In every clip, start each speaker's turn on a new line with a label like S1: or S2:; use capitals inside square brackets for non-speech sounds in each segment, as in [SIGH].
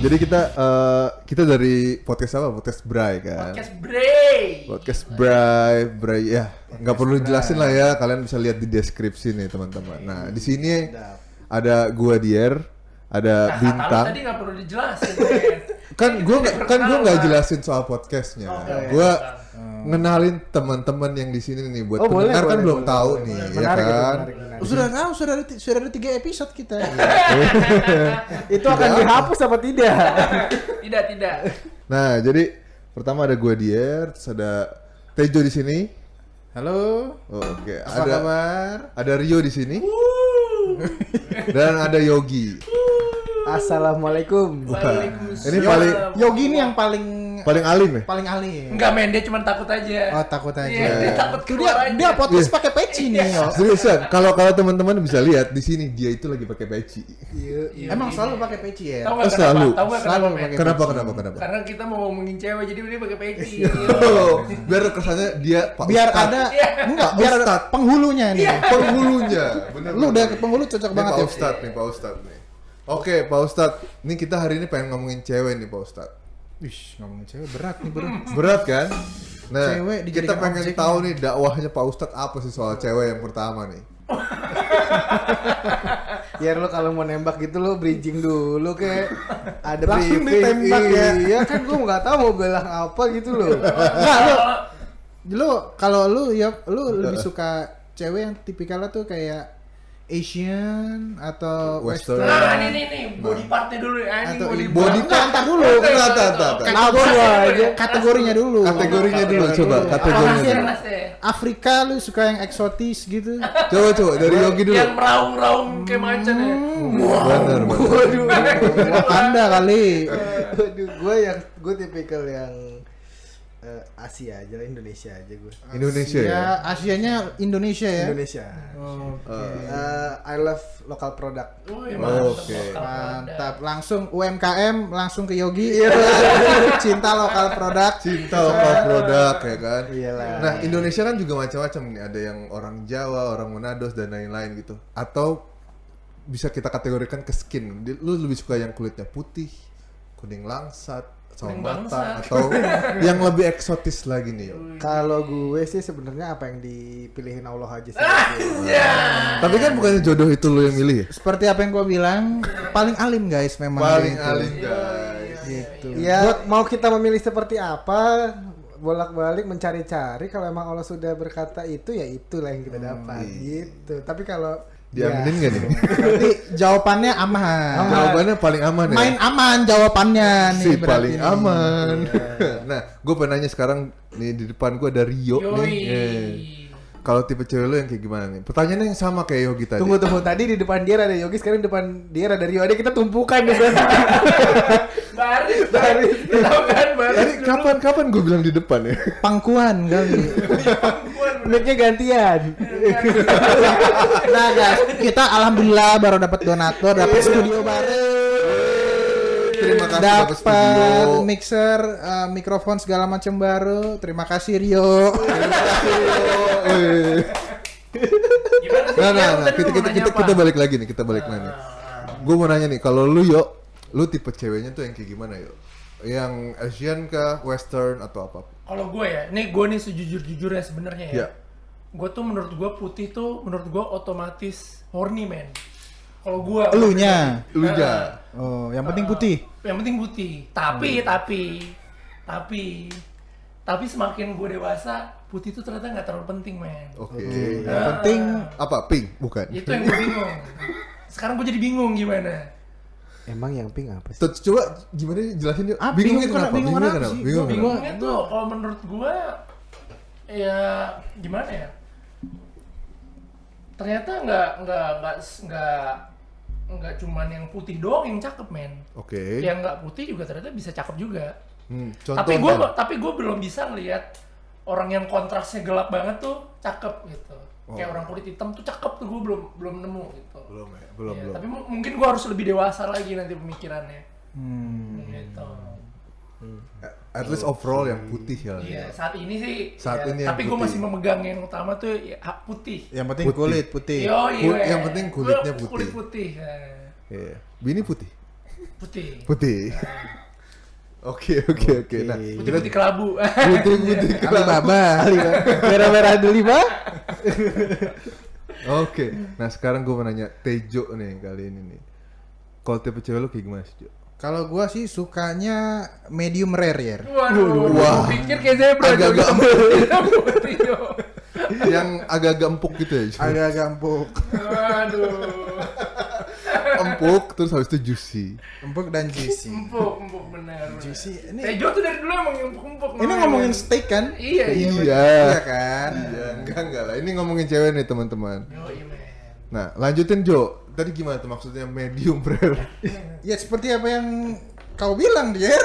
S1: Jadi kita eh, kita dari podcast apa? Podcast Bray kan.
S2: Podcast Bray.
S1: Podcast Bray, Bray ya nggak perlu jelasin lah ya. Kalian bisa lihat di deskripsi nih teman-teman. Nah di sini ada gua Dier, ada
S2: Nah, Kata lu
S1: bintang.
S2: tadi nggak perlu dijelasin. men.
S1: Kan gua nggak- kan gua nggak jelasin soal podcastnya. Gua ngenalin teman-teman yang di sini nih buat
S3: Oh, boleh,
S1: pendengar kan
S3: boleh,
S1: belum
S3: boleh,
S1: tahu
S3: boleh,
S1: nih
S3: boleh.
S1: ya
S3: Menarik itu,
S1: kan.
S3: menarik, menarik.
S4: Sudah tahu sudah ada sudah ada tiga episode kita.
S3: Itu akan
S1: Tidak.
S3: dihapus apa tidak?
S2: tidak tidak.
S1: Nah jadi pertama ada gua Dier, terus ada Tejo di sini.
S4: Halo.
S1: Oh, Oke,
S4: Apa
S1: ada
S4: kabar?
S1: ada Rio di sini dan ada Yogi.
S3: Assalamualaikum.
S2: Waalaikumsalam.
S1: Ini paling
S4: Yogi ini yang paling
S1: paling alim ya.
S4: paling alim.
S2: Enggak men, dia cuma takut aja.
S4: Oh, takut aja.
S2: Iya, dia takut Iya.
S4: Tuh
S2: keluar
S4: dia
S2: aja.
S4: dia podcast pakai peci nih. yo.
S1: Seriusan, kalau kalau teman-teman bisa lihat di sini dia itu lagi pakai peci.
S2: Iya,
S4: Emang
S2: iya.
S4: selalu pakai peci ya.
S2: Tahu nggak
S1: Oh, selalu.
S2: kenapa? Tahu nggak
S4: Selalu
S2: kenapa men?
S4: pakai-
S1: Kenapa kenapa kenapa?
S2: Karena kita mau ngomongin cewek jadi dia pakai peci.
S1: Oh, biar kesannya dia Pak
S4: Biar
S1: Ustadz.
S4: ada
S2: Iya.
S4: enggak biar ada
S1: Ustad.
S4: penghulunya nih.
S1: penghulunya. Bener,
S4: Lu udah
S1: bener.
S4: penghulu cocok
S2: Iya,
S1: Ini
S4: banget
S1: Pak
S4: ya.
S1: Ustadz nih, Pak Ustadz nih. Oke, Pak Ustadz, ini kita hari ini pengen ngomongin cewek nih, Pak Ustadz.
S4: Wih, ngomongin cewek berat nih, berat.
S1: Berat kan? Nah,
S4: Cewek
S1: kita
S4: dijadikan
S1: pengen
S4: objeknya.
S1: tahu nih dakwahnya Pak Ustadz apa sih soal cewek yang pertama nih.
S3: Ya lo kalau mau nembak gitu lo bridging dulu ke ada
S4: Langsung
S3: briefing.
S4: ditembak ya.
S3: Iya kan gue nggak tahu mau bilang apa gitu loh.
S4: Enggak, lu lu kalau lu ya lu lebih suka cewek yang tipikalnya tuh kayak Asian atau
S1: Western.
S4: Western.
S2: Nah, ini nih nih body partnya dulu nih, anjing
S4: Atau
S2: body
S4: i-
S2: part.
S1: Body
S4: Enggak, ntar dulu.
S1: Entar, Kan- entar, entar, entar.
S2: Kategori-
S3: Nabur lo aja.
S4: Kategorinya dulu.
S1: Kategorinya dulu
S4: Kategori
S1: coba,
S4: dulu.
S1: kategorinya
S4: Apa
S1: dulu.
S4: sih? Afrika lu suka yang eksotis gitu.
S1: Coba coba dari Yogi dulu.
S2: Yang meraung-raung kayak macan ya. [LAUGHS]
S1: Bener, bener.
S3: Waduh.
S4: Wakanda kali. [LAUGHS]
S3: Waduh gue yang gue tipikal yang eh, Asia aja lah, Indonesia aja gue.
S1: Indonesia ya.
S4: Ya, Asianya Indonesia ya.
S3: Iya, Indonesia.
S1: Oh.
S3: Eh, I love local product.
S2: Wih, mantap,
S1: Oke.
S2: mantap, mantap.
S4: Mantap, langsung UMKM, langsung ke Yogi.
S3: Iya.
S4: Cinta lokal produk.
S1: Cinta lokal produk ya kan.
S3: Iyalah.
S1: Nah Indonesia kan juga macam-macam nih. Ada yang orang Jawa, orang Manado dan lain-lain gitu. Atau bisa kita kategorikan ke skin. Di- Lu lebih suka yang kulitnya putih, kuning langsat, sama
S2: Kuning
S1: mata
S2: bangsat. [LAUGHS] Iya.
S1: atau yang lebih eksotis lagi nih. Yo.
S3: [LAUGHS] Kalau gue sih sebenarnya apa yang dipilihin Allah [LAUGHS] aja sih.
S1: Tapi kan bukannya jodoh itu lu yang milih ya?
S4: Seperti apa yang gua bilang, paling alim guys memang.
S1: Paling
S4: gitu.
S1: alim guys.
S4: Gitu.
S3: Ya mau kita memilih seperti apa bolak-balik mencari-cari kalau emang Allah sudah berkata itu ya itulah yang kita dapat gitu. Tapi kalau
S1: Hmm, iya. Diaminin
S3: [LAUGHS]
S1: nggak nih? [LAUGHS]
S4: Berarti jawabannya aman.
S1: Ah, Jawabannya paling aman ya.
S4: Main aman jawabannya nih.
S1: si
S4: berarti
S1: paling
S4: nih.
S1: aman. [LAUGHS] nah, gue pengen nanya sekarang nih di depan gue ada Rio
S2: Yoi.
S1: nih. Eh, Kalau tipe cewek lo yang kayak gimana nih? Pertanyaannya yang sama kayak Yogi tadi.
S3: Tunggu tunggu tadi di depan dia ada Yogi sekarang di depan dia ada Rio ada kita tumpukan nih [LAUGHS] berarti.
S1: [LAUGHS]
S2: Baris, baris. Lu Tahu kan baris.
S1: Tadi kapan kapan gue bilang di depan ya?
S4: Pangkuan kali.
S1: [LAUGHS]
S3: Mic-nya gantian.
S4: nah guys, kita alhamdulillah baru dapat donatur, dapat studio baru,
S1: Terima kasih dapat
S4: dapat
S1: studio.
S4: mixer, eh, mikrofon segala macam baru. Terima kasih
S1: Eh.
S4: Rio.
S2: Gimana sih?
S1: Nah, nah, nah,
S2: Yang
S1: kita
S2: tadi lu mau
S1: kita
S2: nanya
S1: kita,
S2: apa?
S1: kita balik lagi nih, kita balik lagi. Gue mau nanya nih, kalau lu Yo, lu tipe ceweknya tuh yang kayak gimana yo? Yang Asian kah, Western atau apa?
S2: Kalau gue ya, nih gue nih sejujur-jujurnya sebenarnya ya.
S1: Iya.
S2: Gue tuh menurut gue putih tuh menurut gue otomatis horny man. Kalau gue
S4: Elunya.
S1: Lu ja.
S4: Oh, yang penting putih.
S2: yang penting putih.
S1: Iya.
S2: Tapi tapi tapi tapi semakin gue dewasa putih tuh ternyata nggak terlalu penting men.
S1: Oke.
S3: Ya.
S4: Yang penting
S1: Apa pink? Bukan.
S2: Itu yang gue bingung. Sekarang gue jadi bingung gimana.
S3: Emang yang pink apa sih?
S1: Tuh, coba gimana sih, jelasin yuk.
S4: Ah,
S1: bingungnya
S4: bingung
S1: kenapa?
S4: kenapa- bingung
S1: Bingungnya
S4: kenapa
S1: kenapa?
S4: sih?
S1: Bingung kenapa?
S4: Gua bingung.
S2: Bingungnya tuh kalau menurut gue ya gimana ya? Ternyata nggak nggak nggak s- nggak nggak cuman yang putih doang yang cakep men.
S1: Oke.
S4: Iya.
S2: Yang nggak putih juga ternyata bisa cakep juga.
S1: Hmm,
S2: tapi gue
S1: contohnya.
S2: tapi gue belum bisa ngelihat orang yang kontrasnya gelap banget tuh cakep gitu. Kayak orang kulit hitam tuh cakep tuh gue belum belum nemu gitu.
S1: Oh. belum ya, belum
S4: Iya,
S2: Ya,
S1: belum.
S2: tapi mu- mungkin gue harus lebih dewasa lagi nanti pemikirannya.
S1: Hmm.
S2: Gitu.
S1: At least overall yang putih ya.
S2: Iya, saat ini sih.
S1: Saat
S2: ya,
S1: ini yang
S2: Tapi gue
S1: putih.
S2: masih memegang yang utama tuh ya, hak putih.
S4: yang penting
S1: Putih.
S4: kulit putih.
S2: Yoi,
S1: Kul-
S2: weh.
S1: yang penting kulitnya
S2: Kulit
S1: putih.
S2: putih. ya.
S1: Iya. Bini putih.
S2: putih.
S1: Putih. [LAUGHS] Oke oke oke. Nah,
S2: Putih
S1: kita
S2: putih kelabu.
S1: putih
S4: [LAUGHS]
S1: putih kelapa.
S4: Alibaba, Alibaba. Merah-merah Alibaba.
S1: Oke. Nah sekarang gue mau nanya Tejo nih kali ini nih. Kalau tipe cewek lu kayak gimana sih Jo?
S4: Kalau gua sih sukanya medium rare ya.
S2: [LAUGHS]
S1: Wah.
S2: Waduh, gua pikir kayak zebra
S1: Agak-
S2: juga.
S1: agak-
S2: [LAUGHS] Putih, yo.
S1: Yang agak-agak empuk gitu ya. Jo?
S4: Agak-agak empuk.
S2: Waduh.
S1: empuk terus habis itu juicy.
S4: Empuk dan juicy.
S2: Empuk, empuk benar. benar.
S4: Juicy. Ini,
S2: Tejo tuh dari dulu emang empuk-empuk.
S4: ini
S2: namanya.
S4: ngomongin steak kan?
S2: Iya, iya.
S4: Iya
S1: Iya.
S4: kan?
S1: Iya, enggak enggak lah. Ini ngomongin cewek nih teman-teman.
S2: Yo, iya, man.
S1: Nah, lanjutin Jo. Tadi gimana tuh maksudnya medium rare?
S3: Iya,
S4: Ya seperti apa yang kau bilang, Jer.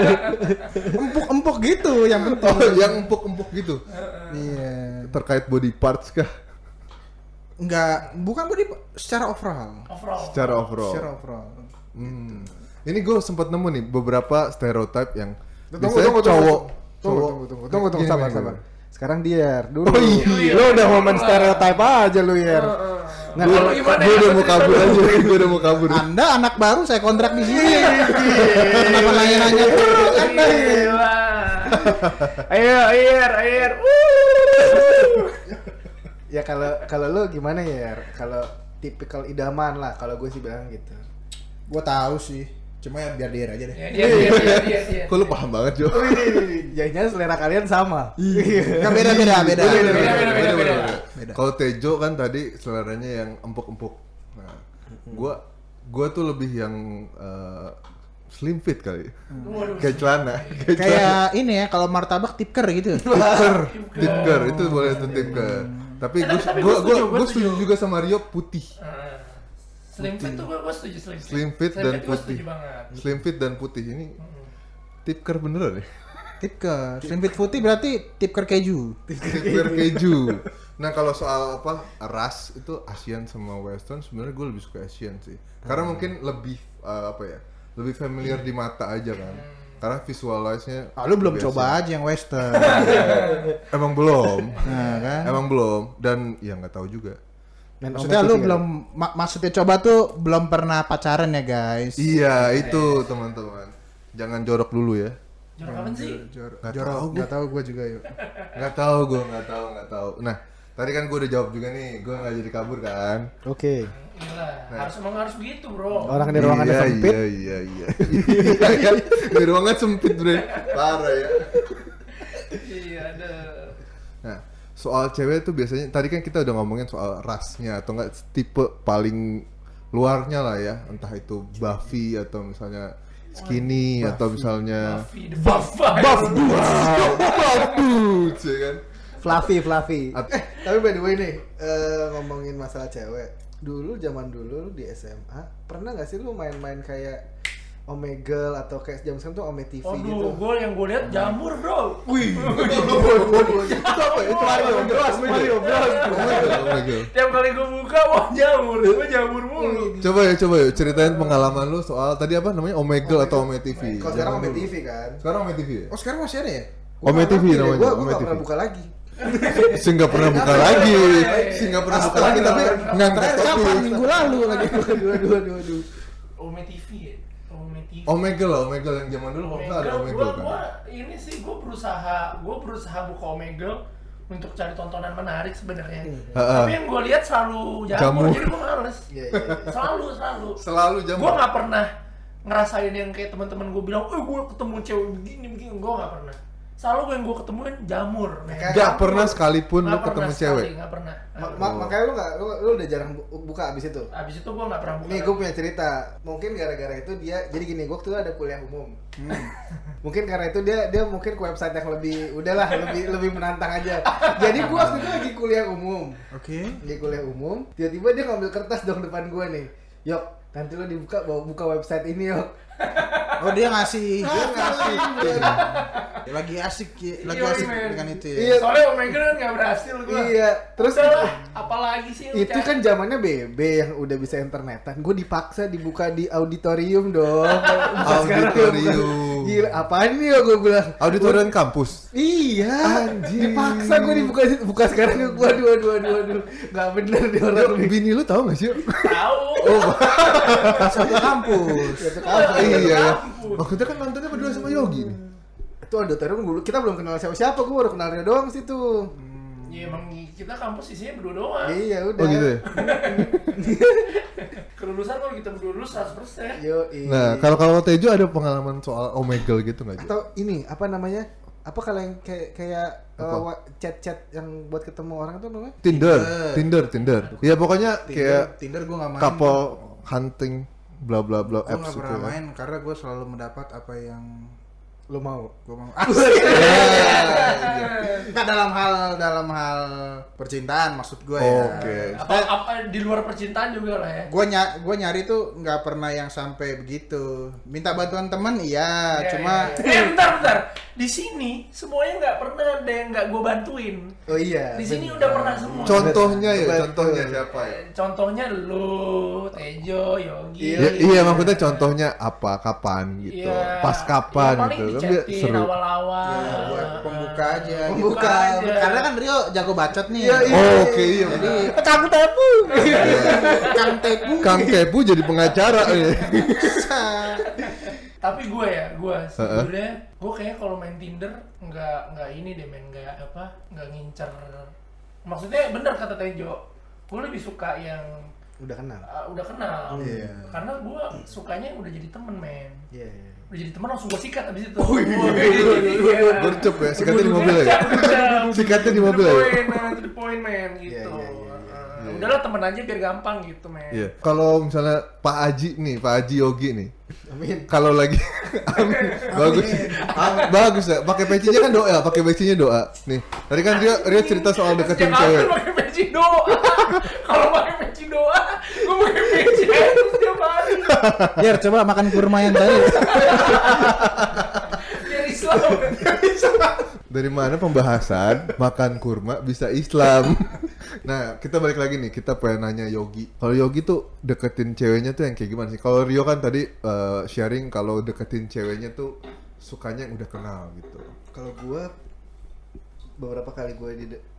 S3: [LAUGHS]
S4: Empuk-empuk gitu
S3: Iya.
S4: yang
S1: [LAUGHS]
S4: penting.
S1: Oh, yang empuk-empuk gitu.
S4: Iya.
S1: Terkait body parts kah?
S4: Enggak, bukan body secara overall.
S2: Overall.
S1: Secara overall.
S4: Secara overall.
S1: Hmm. Ini gue sempat nemu nih beberapa stereotype yang biasanya
S3: Tunggu, tunggu, tunggu,
S1: cowok cowok-
S3: Tunggu, tunggu, tunggu, tunggu, tunggu,
S1: Gini,
S3: sabar,
S1: gini,
S3: sabar.
S1: gini.
S3: Sekarang dia dulu.
S1: Oh iya.
S3: Lu udah momen stereotype aja lu, Yer.
S4: Oh.
S2: Lu
S3: Nah, kalau-
S2: gimana
S1: Gue
S2: ya,
S1: udah mau
S2: maksudnya?
S1: kabur aja, gue udah mau kabur.
S4: Anda anak baru saya kontrak di sini. Kenapa nanya-nanya terus? Anda?
S2: Gila. Ayo, air, air.
S3: [LAUGHS] ya kalau kalau lu gimana, Yer? Kalau tipikal idaman lah, kalau gue sih bilang
S4: [LAUGHS]
S3: gitu.
S4: Gua tahu sih. Cuma ya biar dia aja deh.
S2: Iya, iya, iya, iya, iya, iya.
S1: Kok lu paham banget Jo?
S3: Jadinya selera kalian sama. [LAUGHS]
S4: Kan beda beda beda.
S2: beda, beda, beda, beda.
S1: Beda. Kalau Tejo kan tadi seleranya yang empuk-empuk. Nah, gue gue tuh lebih yang eh, slim fit kali.
S2: Waduh.
S1: Kayak celana, [LAUGHS] kayak celana.
S4: Kayak ini ya kalau martabak tipker gitu.
S1: Tipker, tipker itu boleh tuh tipker. Tapi
S2: Eh, tapi- tapi
S1: gue gue
S2: gua setuju, gua
S1: gue setuju
S2: setuju.
S1: juga sama Rio putih.
S2: Ah, Slim fit tuh gue gue setuju slim fit.
S1: Slim fit dan
S2: gua
S1: putih.
S2: setuju banget.
S1: Slim fit dan putih ini tipker beneran ya?
S4: Tipker. Slimfit putih berarti tipker keju.
S1: Tipker keju. Nah kalau soal apa ras itu Asian sama Western sebenarnya gue lebih suka Asian sih. Karena mungkin lebih eh, apa ya? Lebih familiar di mata aja kan. Karena visualize-nya.
S4: Ah, lu belum
S1: lebih
S4: coba aja yang western.
S1: Asian. Emang belum.
S4: [LAUGHS] nah, kan?
S1: Emang belum. Dan ya nggak tahu juga.
S3: Dan
S4: Maksudnya
S3: omnya
S4: lu
S3: sih nggak
S4: belum mak- maksudnya coba tuh belum pernah pacaran ya, guys.
S1: Iya itu teman-teman. Jangan jorok dulu ya.
S2: Jorok kapan sih?
S4: Jorok.
S1: Nggak
S4: Jorok.
S1: tahu
S4: Nggak tahu gua juga yuk.
S1: Nggak tahu gue nggak tahu nggak tahu. Nah tadi kan gue udah jawab juga nih. Gue nggak jadi kabur kan.
S3: ada. Oke.
S2: Gila,
S1: Nah.
S2: harus emang harus begitu bro.
S3: Orang di ruangan
S1: iya,
S3: sempit.
S1: Iya iya iya. [LAUGHS] Iya kan? Di ruangan sempit bre. Parah ya.
S2: Iya ada.
S1: Nah, soal cewek tuh biasanya tadi kan kita udah ngomongin soal rasnya atau enggak tipe paling luarnya lah ya, entah itu buffy atau misalnya skinny atau misalnya
S2: Buffy the buff. Buff.
S1: gitu. Aduh, ya kan.
S3: Fluffy, fluffy.
S1: At-
S3: Eh, tapi by the way nih, eh, ngomongin masalah cewek. Dulu zaman dulu lu di SMA, pernah nggak sih lu main-main kayak Omegle atau kayak jam sekarang tuh Ome TV gitu?
S2: Waduh, gue yang gue lihat jamur bro.
S1: Wih. [LAUGHS] Waduh, waduh, Itu apa? ya? Itu Mario Bros, Mario Bros. Oh my God.
S2: Tiap kali gue buka, wah jamur, gue jamur mulu.
S1: Coba ya, coba ya ceritain pengalaman lu soal tadi apa namanya Omegle atau Ome TV.
S3: Kalau sekarang
S1: Zaman
S3: Ome
S1: dulu.
S3: TV kan.
S1: Sekarang Ome TV ya?
S4: Oh, sekarang masih ada ya?
S1: Ome TV namanya.
S3: Gue
S1: Ome
S3: gak
S1: TV.
S3: pernah buka lagi.
S1: Sih nggak pernah buka lagi. Sih nggak pernah buka lagi tapi ngangkat
S4: Terakhir kapan?
S1: topik.
S4: Minggu lalu lagi.
S3: Aduh, aduh, aduh, aduh.
S2: Ome TV ya. Ome TV.
S1: Omegle lah, Omegle yang zaman dulu kalau
S3: Nah,
S1: nggak ada Omegle
S2: Omegle,
S1: kan.
S2: gue ini sih gue berusaha, gue berusaha buka Omegle untuk cari tontonan menarik sebenarnya.
S1: Heeh.
S2: Tapi yang gue lihat selalu jamur,
S1: Jamur.
S2: jadi gue males.
S3: Iya, iya. iya.
S2: Selalu, selalu.
S1: Selalu jam.
S2: Gue nggak pernah ngerasain yang kayak teman-teman gue bilang, eh gue ketemu cewek begini begini, gue nggak pernah. Selalu gue yang gue ketemuin jamur. men.
S3: Kayak
S1: Nggak pernah sekalipun lu
S2: Nggak
S1: ketemu
S2: pernah
S1: cewek.
S2: sekali, Nggak pernah.
S3: Ma- ma- makanya lu gak, lu, lu udah jarang bu- buka abis itu.
S2: Abis itu gue nggak pernah buka.
S3: Nih gue punya cerita. Mungkin gara-gara itu dia jadi gini, gue waktu itu ada kuliah umum.
S1: Hmm.
S3: [LAUGHS] mungkin karena itu dia dia mungkin ke website yang lebih udahlah lebih lebih menantang aja. Jadi gue waktu itu lagi kuliah umum.
S4: Oke.
S3: Di kuliah umum, tiba-tiba dia ngambil kertas dong depan gue nih. Yok, nanti lo dibuka bawa buka website ini yok.
S4: Oh, dia ngasih.
S3: Dia ngasih.
S1: Iya.
S4: Ya, lagi asik ya. lagi
S2: Iya,
S4: asik
S2: men.
S4: dengan itu ya.
S3: Iya.
S2: Soalnya Omegle kan nggak berhasil gue.
S3: iya, terus
S2: Udahlah, apalagi sih yang
S3: itu
S2: cari?
S3: kan zamannya BB yang udah bisa internetan. Gue dipaksa dibuka di auditorium dong. Bukan sekarang, bukan.
S1: [LAUGHS] Auditorium.
S3: Gila, apaan nih gue bilang?
S1: Auditorium kampus.
S3: Iya,
S1: Anjing.
S3: dipaksa gue dibuka buka sekarang gue aduh aduh aduh aduh nggak bener nih orang
S1: Yo,
S3: nih.
S1: bini lu tau gak sih?
S2: Tahu.
S3: Oh,
S4: satu kampus
S1: Oh, iya, iya.
S2: Kampus.
S1: Maksudnya kan nontonnya berdua sama Yogi nih.
S3: Itu auditorium gue kita belum kenal siapa siapa gue baru kenal dia doang situ.
S2: Ya emang kita kampus isinya berdua doang.
S3: Iya udah.
S1: Oh gitu ya.
S2: Kelulusan kalau kita berdua lulus 100%.
S3: Yo,
S1: Nah, kalau kalau Tejo ada pengalaman soal omegle gitu nggak? Jo?
S3: atau ini apa namanya? Apa kalau yang kayak kayak eh,
S1: Apa?
S3: wa- chat-chat yang buat ketemu orang tuh namanya?
S1: Tinder, Tinder, Tinder. Ya pokoknya
S4: Tinder,
S1: kayak
S4: Tinder gue gak main
S1: couple hunting bla bla bla
S4: gue gak
S1: apps gitu
S4: pernah
S1: ya.
S4: main karena gue selalu mendapat apa yang
S3: Lo mau?
S4: gue mau ah,
S1: Iya,
S2: [LAUGHS]
S4: nggak dalam hal dalam hal percintaan maksud gue ya
S1: Oke.
S2: Apa, apa di luar percintaan juga lah ya.
S4: gue ny- gue nyari tuh nggak pernah yang sampai begitu minta bantuan teman iya
S2: Ya,
S4: cuma
S2: ya, ya. Eh, bentar, bentar. Di sini semuanya nggak pernah ada yang nggak gue bantuin.
S3: Oh iya.
S2: Di sini udah pernah semua.
S1: Contohnya ya,
S3: Betul.
S1: contohnya siapa ya?
S2: Contohnya lu, Tejo, Yogi.
S1: Ya, iya maksudnya contohnya apa kapan gitu
S2: Iya.
S1: pas
S2: Iya,
S1: kapan
S2: paling
S1: gitu kan
S2: dichatin
S1: dia seru
S2: awal-awal.
S4: ya, buat pembuka aja
S2: Pembuka
S4: gitu.
S2: aja.
S4: karena kan Rio jago bacot nih
S3: Iya, iya.
S1: Oh, oke iya
S4: jadi
S1: benar.
S2: Kang Tepu.
S4: kang tepu
S1: Kang Kepu jadi pengacara ya.
S4: bisa.
S2: Tapi gue ya, gue sebenarnya gue kayak kalau main Tinder nggak nggak ini deh main nggak apa nggak ngincer. Maksudnya bener kata Tejo, gue lebih suka yang
S3: Udah kenal.
S2: uh, udah kenal.
S4: Iya.
S2: Karena gue sukanya udah jadi temen men.
S3: Iya. iya.
S2: Udah jadi temen langsung gue sikat abis itu.
S1: Oh, iya.
S2: iya.
S1: Gercep ya, sikatnya di mobil ya. Sikatnya di mobil ya.
S2: Di poin men gitu.
S4: Iya,
S2: Uh, Udahlah temen aja biar gampang gitu men.
S1: Iya. Kalau misalnya Pak Aji nih, Pak Aji Yogi nih.
S3: Amin.
S1: Kalau lagi [LAUGHS] Amin. bagus. Amin. Bagus ya. Pakai pecinya kan doa, pakai pecinya doa. Nih. Tadi kan dia dia cerita soal deketin
S2: Setiap
S1: cewek.
S2: aku pakai peci doa. [LAUGHS] Kalau pakai peci doa, gue pakai peci aja setiap hari.
S4: biar coba makan kurma yang tadi
S2: Biar Islam.
S1: Dari mana pembahasan makan kurma bisa Islam? Nah, kita balik lagi nih. Kita pengen nanya Yogi. Kalau Yogi tuh deketin ceweknya tuh yang kayak gimana sih? Kalau Rio kan tadi eh, sharing kalau deketin ceweknya tuh sukanya yang udah kenal gitu.
S3: kalau gua beberapa kali gue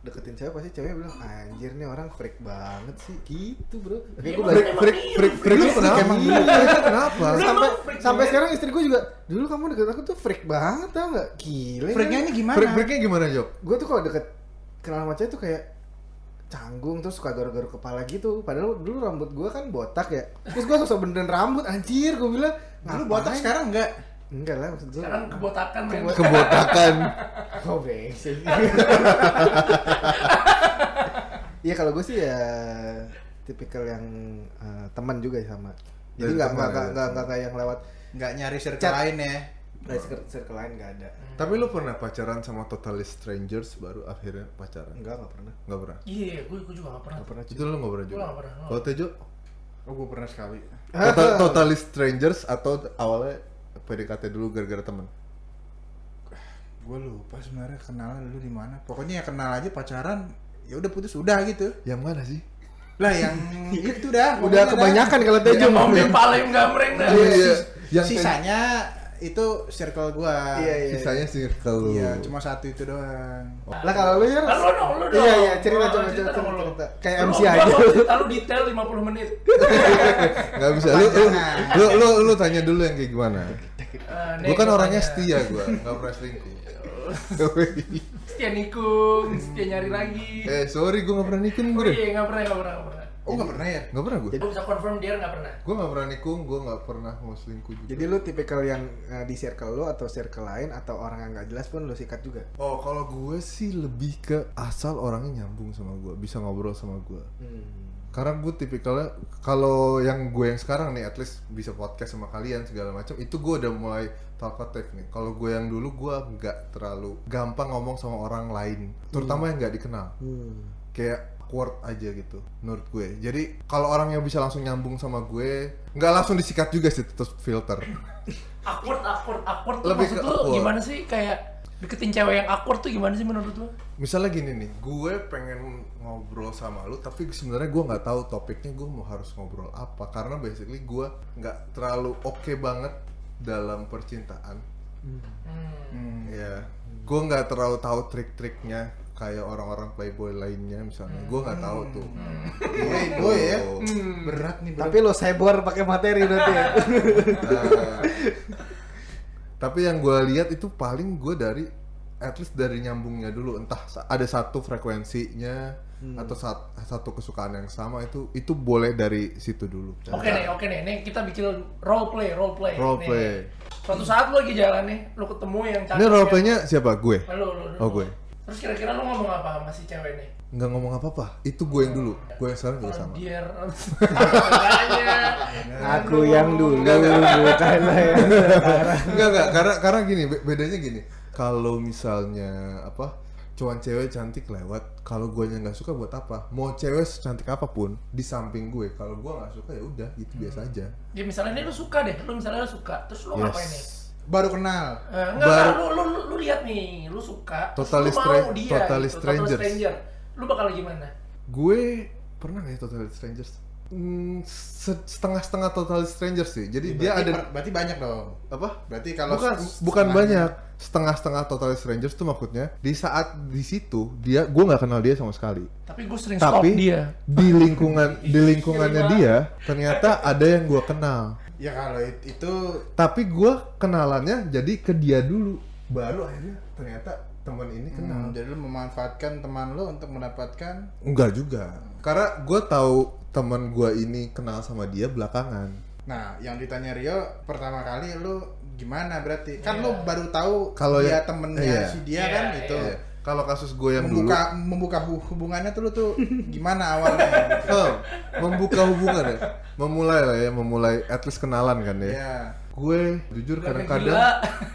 S3: dideketin cewek pasti cewek bilang anjir nih orang freak banget sih gitu bro tapi
S2: Iya,
S3: gue
S2: Bang.
S3: belajar
S1: Freak, freak, freak, freak lu
S4: Lu freak
S1: kenapa?
S4: emang
S1: Iya, freak lu kenapa?
S2: Lu
S3: sampai
S2: emang freak
S3: sampai
S2: banget.
S3: sekarang istri gue juga dulu kamu deket aku tuh freak banget tau nggak gila
S4: freaknya ini gimana
S1: Freak, freaknya gimana, Jok?
S3: gue tuh kalau deket kenal sama cewek tuh kayak canggung terus suka garuk-garuk kepala gitu padahal dulu rambut gue kan botak ya terus gue sosok benerin rambut anjir gue bilang
S4: Nah, lu botak
S3: ngapain?
S4: sekarang enggak
S3: enggak lah maksud gue
S2: Sekarang kebotakan men.
S1: Kebotakan.
S3: Oh brengsek. Iya kalau gue sih ya tipikal yang eh, teman juga sama. Jadi
S1: Dari
S3: nggak
S1: teman
S3: nggak
S1: ya,
S3: nggak
S1: dari
S3: nggak
S1: teman.
S3: nggak kayak yang lewat
S4: nggak nyari circle
S3: Chat.
S4: lain ya
S3: dari circle, circle lain nggak ada.
S1: Tapi lu pernah pacaran sama totally strangers baru akhirnya pacaran?
S3: Enggak nggak pernah.
S1: Nggak pernah.
S2: Iya, gue gue juga gak pernah.
S3: Nggak pernah. cuy.
S1: Itu lu nggak pernah juga.
S2: nggak pernah, nggak.
S1: Kalau Tejo,
S4: oh gue pernah sekali
S1: total,
S3: [LAUGHS]
S1: totally strangers atau awalnya PDKT dulu gara-gara temen?
S4: gue lupa sebenarnya kenalan dulu di mana pokoknya ya kenal aja pacaran ya udah putus udah gitu
S1: Yang mana sih?
S4: lah yang itu gitu dah
S3: Udah
S4: pokoknya
S3: kebanyakan Kan kalau
S2: Dia
S3: Tejo
S2: mau
S3: mau.
S2: di paling gambreng dah.
S1: Iya, iya.
S4: dah.
S1: Yang
S4: sisanya itu circle gue
S3: Iya iya.
S1: sisanya circle lu.
S4: iya cuma satu itu doang
S3: Lah kalau lu
S2: Lah,
S3: ya.
S2: Kan lu dong, lu dong.
S3: Iya iya cerita
S2: Lu
S3: coba
S2: cerita
S3: cerita
S2: dong, lu.
S3: cerita. Kayak
S2: Lu-
S3: MC
S2: gua
S3: aja.
S2: mau cerita lu detail 50 menit.
S1: Nggak bisa. Lu, lu, lu, lu, lu tanya dulu yang kayak gimana?
S2: Eh, nih,
S1: Gue kan
S2: gua
S1: orangnya
S2: tanya.
S1: setia gue, nggak pernah selingkuh. [LAUGHS]
S2: Setia nikung, setia nyari lagi.
S1: eh sorry gue nggak pernah nikung
S2: Oh,
S1: gue.
S2: Iya, nggak pernah, nggak pernah, nggak pernah.
S4: oh nggak pernah ya
S1: Nggak pernah gue.
S2: Gue bisa confirm dia nggak pernah.
S1: Gue nggak pernah nikung, gue nggak pernah mau selingkuh juga.
S3: Jadi lu tipikal yang eh, di circle lu atau circle lain atau orang yang nggak jelas pun lu sikat juga.
S1: Oh, kalau gue sih lebih ke asal orangnya nyambung sama gue, bisa ngobrol sama gue. Karena gue tipikalnya kalau yang gue yang sekarang nih, at least bisa podcast sama kalian segala macam, itu gue udah mulai talkative nih. Kalau gue yang dulu gue nggak terlalu gampang ngomong sama orang lain, terutama yang nggak dikenal
S3: Hmm.
S1: kayak awkward aja gitu menurut gue jadi kalau orang yang bisa langsung nyambung sama gue nggak langsung disikat juga sih terus filter
S2: Awkward, awkward, awkward. tuh
S1: Lebih
S2: Maksud
S1: ke
S2: lu
S1: awkward.
S2: gimana sih kayak deketin cewek yang awkward tuh gimana sih menurut lu?
S1: misalnya gini nih gue pengen ngobrol sama lu tapi sebenarnya gue nggak tahu topiknya gue mau harus ngobrol apa karena basically gue nggak terlalu oke banget dalam percintaan
S2: Hmm.
S1: Iya. Gue nggak terlalu tahu trik-triknya kayak orang-orang playboy lainnya misalnya. Gue nggak tahu tuh. Iya,
S3: Gue ya.
S1: Berat nih.
S3: Tapi lo cyber pakai materi nanti ya.
S1: Nah, [LAUGHS] tapi yang gue lihat itu paling gue dari at least dari nyambungnya dulu entah sa- ada satu frekuensinya atau sat- satu kesukaan yang sama itu itu boleh dari situ dulu.
S2: Oke nih, oke nih. Nih kita bikin role play, role play.
S1: Role
S2: Nih.
S1: play.
S2: Suatu saat lu lagi jalan nih, lu ketemu yang cakep.
S1: Ini role
S2: ya.
S1: playnya siapa? Gue.
S2: Nah, Lu, lu, lu.
S1: Oh, gue.
S2: Terus kira-kira lu ngomong apa sama si cewek nih?
S1: Nggak ngomong apa-apa. Itu gue yang dulu. Gue yang sekarang juga sama.
S2: Dear.
S1: [LAUGHS]
S3: Aku yang dulu bukan lo ya.
S1: Enggak enggak karena karena gini be- bedanya gini. Kalau misalnya apa cuman cewek cantik lewat, kalau gue nggak suka buat apa? Mau cewek secantik apapun di samping gue, kalau gue nggak suka ya udah gitu biasa aja.
S2: Ya misalnya nih lu suka deh, lu misalnya lu suka, terus lu ngapain nih?
S4: Baru kenal.
S2: Eh, enggak, enggak,
S1: Baru-
S2: lu, lu, lu, lu lihat nih, lu suka, terus
S1: Totally
S2: lu mau
S1: stra-
S2: dia,
S1: totally
S2: gitu,
S1: strangers.
S2: stranger. Lu bakal gimana?
S1: Gue pernah nggak ya total strangers? Hmm, se- setengah-setengah total strangers sih. Jadi dia ada
S4: Berarti banyak dong.
S1: apa?
S4: Berarti
S1: bukan bukan banyak setengah-setengah total strangers tuh maksudnya di saat di situ dia gue nggak kenal dia sama sekali
S2: Tapi gue sering stalk
S1: tapi
S2: dia.
S1: di lingkungan di lingkungannya
S4: Iya.
S2: Terima.
S1: dia ternyata ada yang gua kenal
S4: Ya kalau it- itu
S1: tapi gua kenalannya jadi ke dia dulu baru akhirnya ternyata teman ini kenal
S4: hmm, jadi lu memanfaatkan teman lu untuk mendapatkan
S1: enggak juga karena gua tahu teman gua ini kenal sama dia belakangan
S4: Nah, yang ditanya Rio pertama kali lu gimana berarti? Kan lu baru tahu
S1: Iya. Kalau
S4: dia
S1: yang-
S4: temennya
S1: iya.
S4: si dia
S2: Iya,
S4: kan gitu.
S1: Iya. kalau kasus gua yang
S4: Membuka membuka hu- hubungannya tuh lu
S1: [LAUGHS]
S4: tuh gimana awalnya?
S1: dulu Heh, Oh, membuka hubungan ya memulai lah ya memulai at least kenalan kan ya
S4: ya.
S1: gue jujur
S2: Gak kayak
S1: kadang-kadang
S2: gila.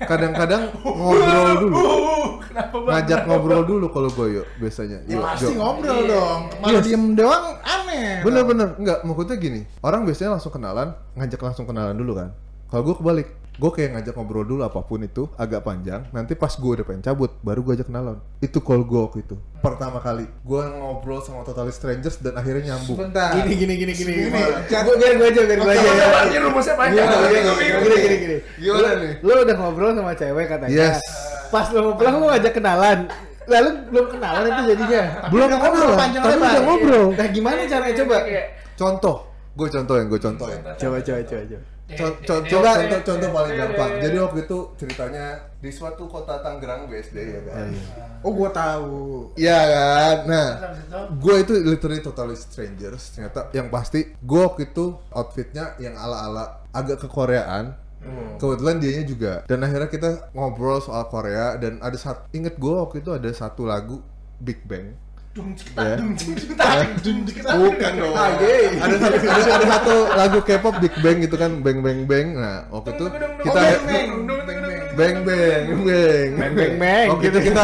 S1: kadang-kadang ngobrol
S4: [LAUGHS]
S1: dulu
S2: Uh, kenapa banget?
S1: ngajak ngobrol dulu kalau gue yuk biasanya
S4: Ya
S1: Yuk,
S4: pasti
S1: yuk.
S4: ngobrol
S2: Iya.
S4: dong. Kan Malah
S1: Yes.
S4: diem doang aneh.
S1: Bener-bener, enggak, maksudnya gini Orang biasanya langsung kenalan, ngajak langsung kenalan dulu kan Kalau gue kebalik, gue kayak ngajak ngobrol dulu apapun itu, agak panjang Nanti pas gue udah pengen cabut, baru gue ajak kenalan Itu call gue waktu itu Pertama kali, gue ngobrol sama totally strangers dan akhirnya nyambung
S4: Bentar.
S3: Gini gini gini gini.
S4: Gini, Chan.
S3: Gua biar gua aja biar gua aja.
S2: Iya,
S3: ya.
S2: anjir, rumusnya
S1: iya,
S2: panjang.
S3: Gini
S2: Gua
S3: gini
S2: bingung.
S3: gini gini. gini.
S1: Gimana nih?
S3: Lu udah ngobrol sama cewek katanya.
S1: Yes
S3: Pas lu mau pulang lu ngajak kenalan. Lalu belum kenalan itu jadinya.
S1: Belum
S4: udah ngobrol
S1: kenalan,
S4: panjang
S1: tapi
S4: lebar.
S1: udah ngobrol
S3: Nah gimana caranya coba?
S2: Kayak-
S1: Contoh, gue contohin, gue contohin
S3: Coba coba coba coba.
S1: Co- co- coba contoh, contoh paling gampang. Jadi waktu itu ceritanya di suatu kota Tangerang BSD ya kan.
S4: Oh, gua tahu.
S1: Iya kan. Nah,
S2: Habis itu,
S1: gue itu literally totally strangers ternyata yang pasti gue waktu itu outfitnya yang ala-ala agak ke Koreaan kebetulan dianya juga dan akhirnya kita ngobrol soal Korea dan ada satu inget gue waktu itu ada satu lagu Big Bang
S2: dung, cik, tak,
S1: ya
S2: dung, cik, tak, dung, cik, tak.
S1: Ah, yeay. ada satu ada, ada satu lagu K-pop Big Bang gitu kan bang bang bang nah waktu itu
S2: Dung, dung, dung,
S1: kita ya-
S2: dung, dung, dung, dung, dung, dung.
S1: bang bang bang
S3: Bang, bang, bang.
S1: waktu itu kita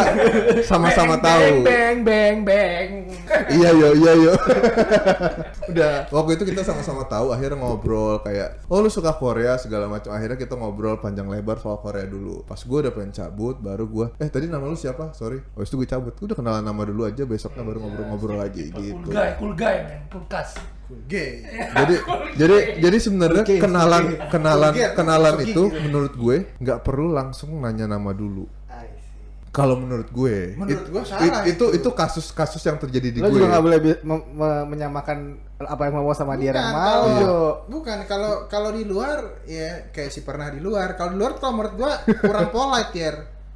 S1: sama-sama
S2: Bang,
S1: tahu
S2: Bang bang bang.
S1: iya yo iya yo [LAUGHS] udah waktu itu kita sama-sama tahu akhirnya ngobrol kayak oh lu suka Korea segala macam akhirnya kita ngobrol panjang lebar soal Korea dulu pas gue udah pengen cabut baru gue eh tadi nama lu siapa sorry oh itu gue cabut udah kenalan nama dulu aja besoknya baru ngobrol-ngobrol lagi
S2: Cool
S1: gitu
S2: guy, cool guy man, kulkas.
S4: Gay.
S1: jadi
S2: [LAUGHS]
S1: jadi jadi sebenarnya
S4: Oke,
S1: kenalan
S4: oke.
S1: kenalan
S4: Oke,
S1: kenalan
S4: oke,
S1: itu
S4: gitu.
S1: menurut gue nggak perlu langsung nanya nama dulu kalau menurut gue
S4: Menurut
S1: it-
S4: gue salah
S1: it- itu itu kasus-kasus yang terjadi di
S3: Lo
S1: gue
S3: juga nggak boleh bi- mem- me- menyamakan apa yang mau sama dia Iya. yang
S4: Bukan,
S3: mau.
S4: kalau-
S3: Jo.
S1: Iya.
S4: Bukan kalau kalau di luar ya kayak si pernah di luar. Kalau di luar kalau menurut gua kurang polite ya.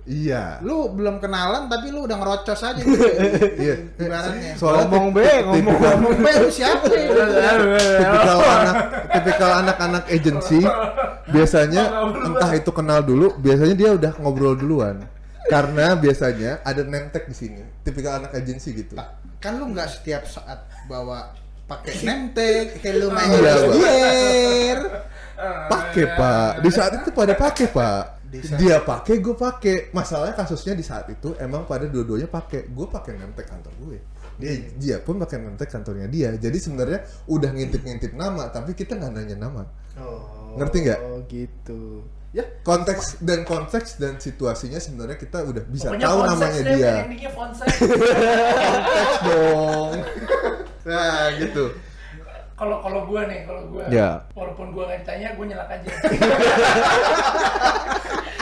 S1: iya
S4: Lu belum kenalan tapi lu udah ngerocos aja.
S1: Iya.
S4: Ibaratnya.
S1: Soalnya
S3: Ngomong,
S1: tip-
S3: Be, ngomong.
S1: tipikal-
S4: Ngomong "Be, lu siapa? ya?
S1: Tipikal anak, tipikal anak-anak agensi biasanya entah itu kenal dulu, biasanya dia udah ngobrol duluan. Karena biasanya ada name tag di sini. Tipikal anak agensi gitu.
S4: Kan lu nggak setiap saat bawa pakai name tag, kayak lu main
S1: Iya, Bang.
S4: Year.
S2: Ah, iya.
S1: Pakai Pak. Di saat itu pada pakai Pak.
S4: Di saat-
S1: Dia pakai, gue pakai. Masalahnya kasusnya di saat itu emang pada dua-duanya pakai. Gue pakai name tag kantor gue. Dia, dia pun pakai name tag kantornya dia. Jadi sebenarnya udah ngintip-ngintip nama, tapi kita nggak nanya nama. Ngerti nggak?
S3: Oh gitu. Ya,
S1: konteks dan konteks dan situasinya sebenarnya kita udah bisa
S2: Pokoknya
S1: tahu
S2: font size
S1: namanya
S2: deh,
S1: dia
S2: man, endingnya
S1: [LAUGHS]
S2: font size.
S1: konteks dong nah gitu
S2: kalau kalau gue nih kalau gue
S1: Ya.
S2: walaupun gue nggak ditanya gue nyelak aja
S1: [LAUGHS]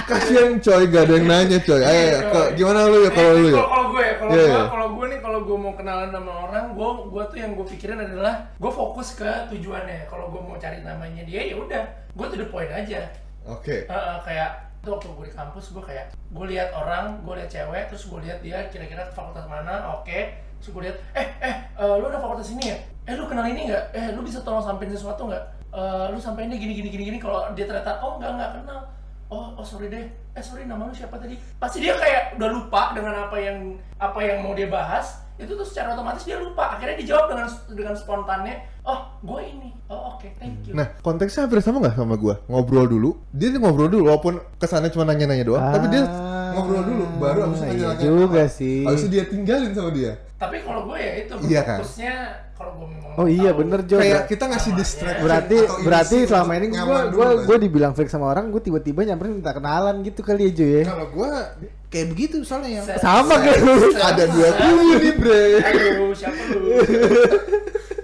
S1: Kasian coy, gak ada yang nanya coy. Ayo,
S2: Iya,
S1: ya,
S2: coy.
S1: ke- gimana lu ya kalau lu ya?
S2: kalau gue ya kalau
S1: Iya,
S2: gue
S1: iya.
S2: kalau gue nih kalau gue mau kenalan sama orang gue gue tuh yang gue pikirin adalah gue fokus ke tujuannya kalau gue mau cari namanya dia ya udah gue to the point aja
S1: Oke.
S2: Heeh, Eh, kayak itu waktu gue di kampus gue kayak gue lihat orang gue lihat cewek terus gue lihat dia kira-kira ke fakultas mana oke terus gue lihat eh eh eh, lu ada fakultas ini ya eh lu kenal ini nggak eh lu bisa tolong sampein sesuatu nggak Eh, lu sampeinnya gini gini gini gini kalau dia ternyata oh nggak nggak kenal oh oh sorry deh eh sorry nama lu siapa tadi pasti dia kayak udah lupa dengan apa yang apa yang mau dia bahas itu tuh secara otomatis dia lupa akhirnya dijawab dengan dengan spontannya oh gue ini oh oke thank you
S1: Nah, konteksnya hampir sama nggak sama gua? Ngobrol dulu. Dia tuh ngobrol dulu, walaupun kesannya cuma nanya-nanya doang. Oh, Tapi dia
S4: Ah,
S1: ngobrol dulu, baru abis itu
S4: iya
S1: nanya-nanya.
S4: juga sih.
S1: Abis itu dia tinggalin sama dia.
S2: Tapi kalau gue ya itu
S1: Iya kan?
S2: fokusnya kalau gue memang
S4: Oh iya bener Jo.
S1: Kayak
S4: Ber-
S1: kita ngasih distraction
S4: Berarti
S1: atau ilusi
S4: berarti
S1: untuk
S4: selama ini
S1: nyaman
S4: gua
S1: dulu
S4: gua
S1: kan?
S4: gua dibilang fake sama orang, gua tiba-tiba nyamperin minta kenalan gitu kali ya Jo ya.
S1: kalau gua
S4: Kayak begitu soalnya
S2: Se-
S4: Sama kayak lu.
S1: ada dua kubu nih, Bre.
S2: Aduh, siapa lu?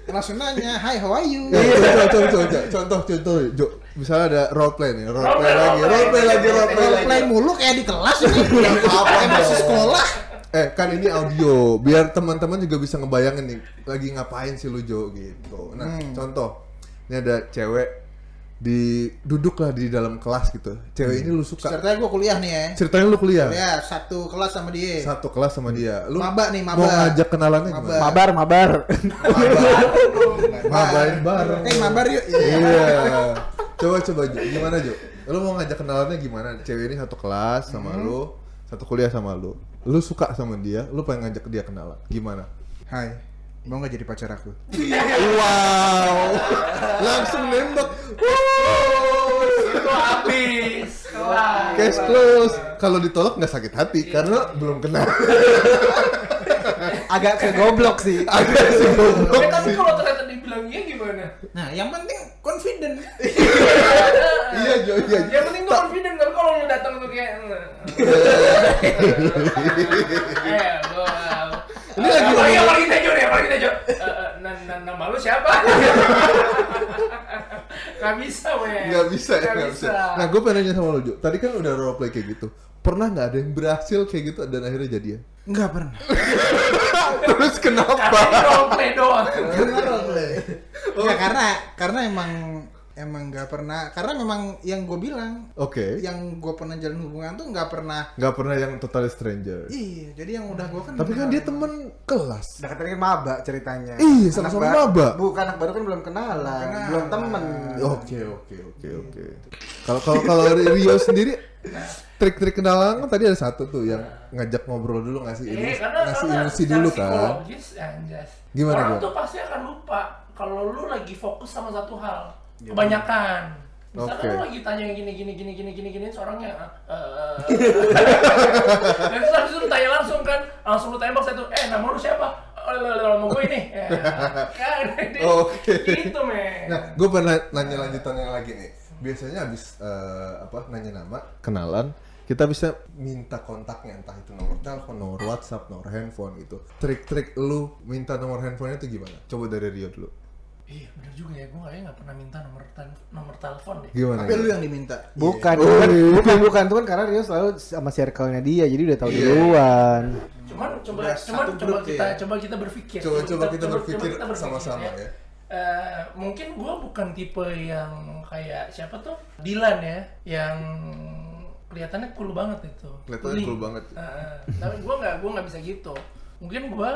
S4: Langsung nanya, "Hi, how are
S1: Iya,
S4: you?"
S1: Contoh, contoh, contoh, contoh, contoh, Jo. Misalnya ada role play nih, role play
S2: Role
S1: lagi,
S2: play, role play.
S1: role play lagi, role play
S4: Role
S1: lagi.
S4: play mulu Iya. kayak di kelas [LAUGHS] ini.
S1: apa-apa
S4: Kayak masih
S1: dong.
S4: sekolah.
S1: Eh kan ini audio, biar teman-teman juga bisa ngebayangin nih lagi ngapain sih lu Jo gitu. Nah
S4: Hmm.
S1: contoh, ini ada cewek di duduk lah di dalam kelas gitu. Cewek ini lu suka.
S4: Ceritanya gua kuliah nih ya.
S1: Ceritanya lu kuliah
S4: Ya, satu kelas sama dia.
S1: satu kelas sama dia. Lu
S4: Maba nih, maba.
S1: mau ngajak kenalannya
S4: Maba.
S1: gimana?
S5: Mabar, mabar.
S1: Mabain bareng.
S4: Eh, mabar yuk.
S1: Iya. Coba coba Jo, gimana Jo? Lu mau ngajak kenalannya gimana? Cewek ini satu kelas sama lu, satu kuliah sama lu. Lu suka sama dia, lu pengen ngajak dia kenalan. Gimana?
S4: Hai. Mau gak jadi pacar aku?
S1: Wow, langsung nembak. Wow.
S2: Itu habis. Kelar.
S1: Case close. Kalau ditolak nggak sakit hati karena belum [LAUGHS] kenal.
S4: Agak kegoblok sih. [LAUGHS]
S1: Agak sih goblok
S2: Eh, tapi
S1: sih.
S2: kalau ternyata dibilangnya gimana?
S4: Nah, yang penting confident.
S1: [LAUGHS] Iya Jo, iya. Jo.
S2: Yang penting gue confident, tapi kalau lu datang tuh kayak
S1: [LAUGHS]
S2: Eh, gue
S1: Ini lagi
S2: Apa
S1: ngomongin-
S2: yang paling tejo nih, yang paling tejo Eh, eh, na- na- Nama lu
S1: [LAUGHS]
S2: siapa? Gak bisa, weh
S1: Nggak bisa, ya, nggak bisa. Nah, gue pengen nanya sama lo Jo. Tadi kan udah role play kayak gitu. Pernah nggak ada yang berhasil kayak gitu dan akhirnya jadian? [LAUGHS]
S4: Enggak [LAUGHS] pernah.
S1: Terus
S2: Karena ini
S1: kenapa?
S2: role play doang
S1: [LAUGHS]
S4: Ya karena karena emang emang nggak pernah karena memang yang gue bilang
S1: Oke.
S4: yang gue pernah jalin hubungan tuh nggak pernah
S1: Nggak pernah yang total stranger.
S4: iya jadi yang udah gue kan
S1: Tapi kan dia temen kelas.
S3: Udah katanya kan maba ceritanya.
S1: Iya,
S3: Anak
S1: sama-sama
S3: baru-
S1: maba.
S3: Bukan anak baru kan belum kenalan,
S4: kenalan.
S3: belum temen.
S1: Oke oke oke oke. Kalau kalau kalau Rio sendiri trik-trik kenalan kan tadi ada satu tuh yang ngajak ngobrol dulu ngasih
S2: Iya,
S1: ilusi,
S2: karena
S1: ngasih
S2: karena
S1: ilusi
S2: secara
S1: dulu kan.
S2: psikologis, ya, anjas.
S1: Gimana,
S2: Orang
S1: Bro?
S2: tuh pasti akan lupa kalau lu lagi fokus sama satu hal.
S4: Iya,
S2: Kebanyakan. Misalkan
S1: Oke.
S2: lu lagi tanya gini gini gini gini gini gini seorangnya eh, eh,
S1: [LAUGHS]
S2: eh. Dan terus habis itu lu tanya langsung kan, langsung lu tembak satu, eh nama lu siapa? "Eh, Nama gue ini. Ya,
S1: [LAUGHS]
S2: Kan
S1: Oke.
S2: Gitu, men.
S1: Nah, gue pernah nanya lanjutannya lagi nih. Biasanya habis eh, apa nanya nama, kenalan, kita bisa minta kontaknya entah itu nomor telepon, nomor WhatsApp, nomor handphone gitu. Trik-trik lu minta nomor handphonenya itu gimana? Coba dari Rio dulu.
S2: Iya, bener juga ya. Gue kayaknya nggak pernah minta nomor tel- nomor telepon deh.
S1: Gimana?
S4: tapi lu
S1: Rio?
S4: yang diminta
S5: Bukan, bukan, bukan, bukan. Itu kan karena Rio selalu sama circle-nya dia, jadi udah tahu duluan.
S2: cuman coba
S4: Udah
S2: cuman
S4: satu
S2: coba
S4: grup
S2: kita
S4: ya.
S2: coba kita berpikir
S1: Coba- coba kita berpikir sama-sama ya.
S2: Eh, mungkin gue bukan tipe yang kayak siapa tuh Dilan ya yang kelihatannya cool banget itu
S1: Kelihatannya
S2: Cooling.
S1: cool banget.
S2: Heeh. tapi gue nggak gue nggak bisa gitu mungkin gue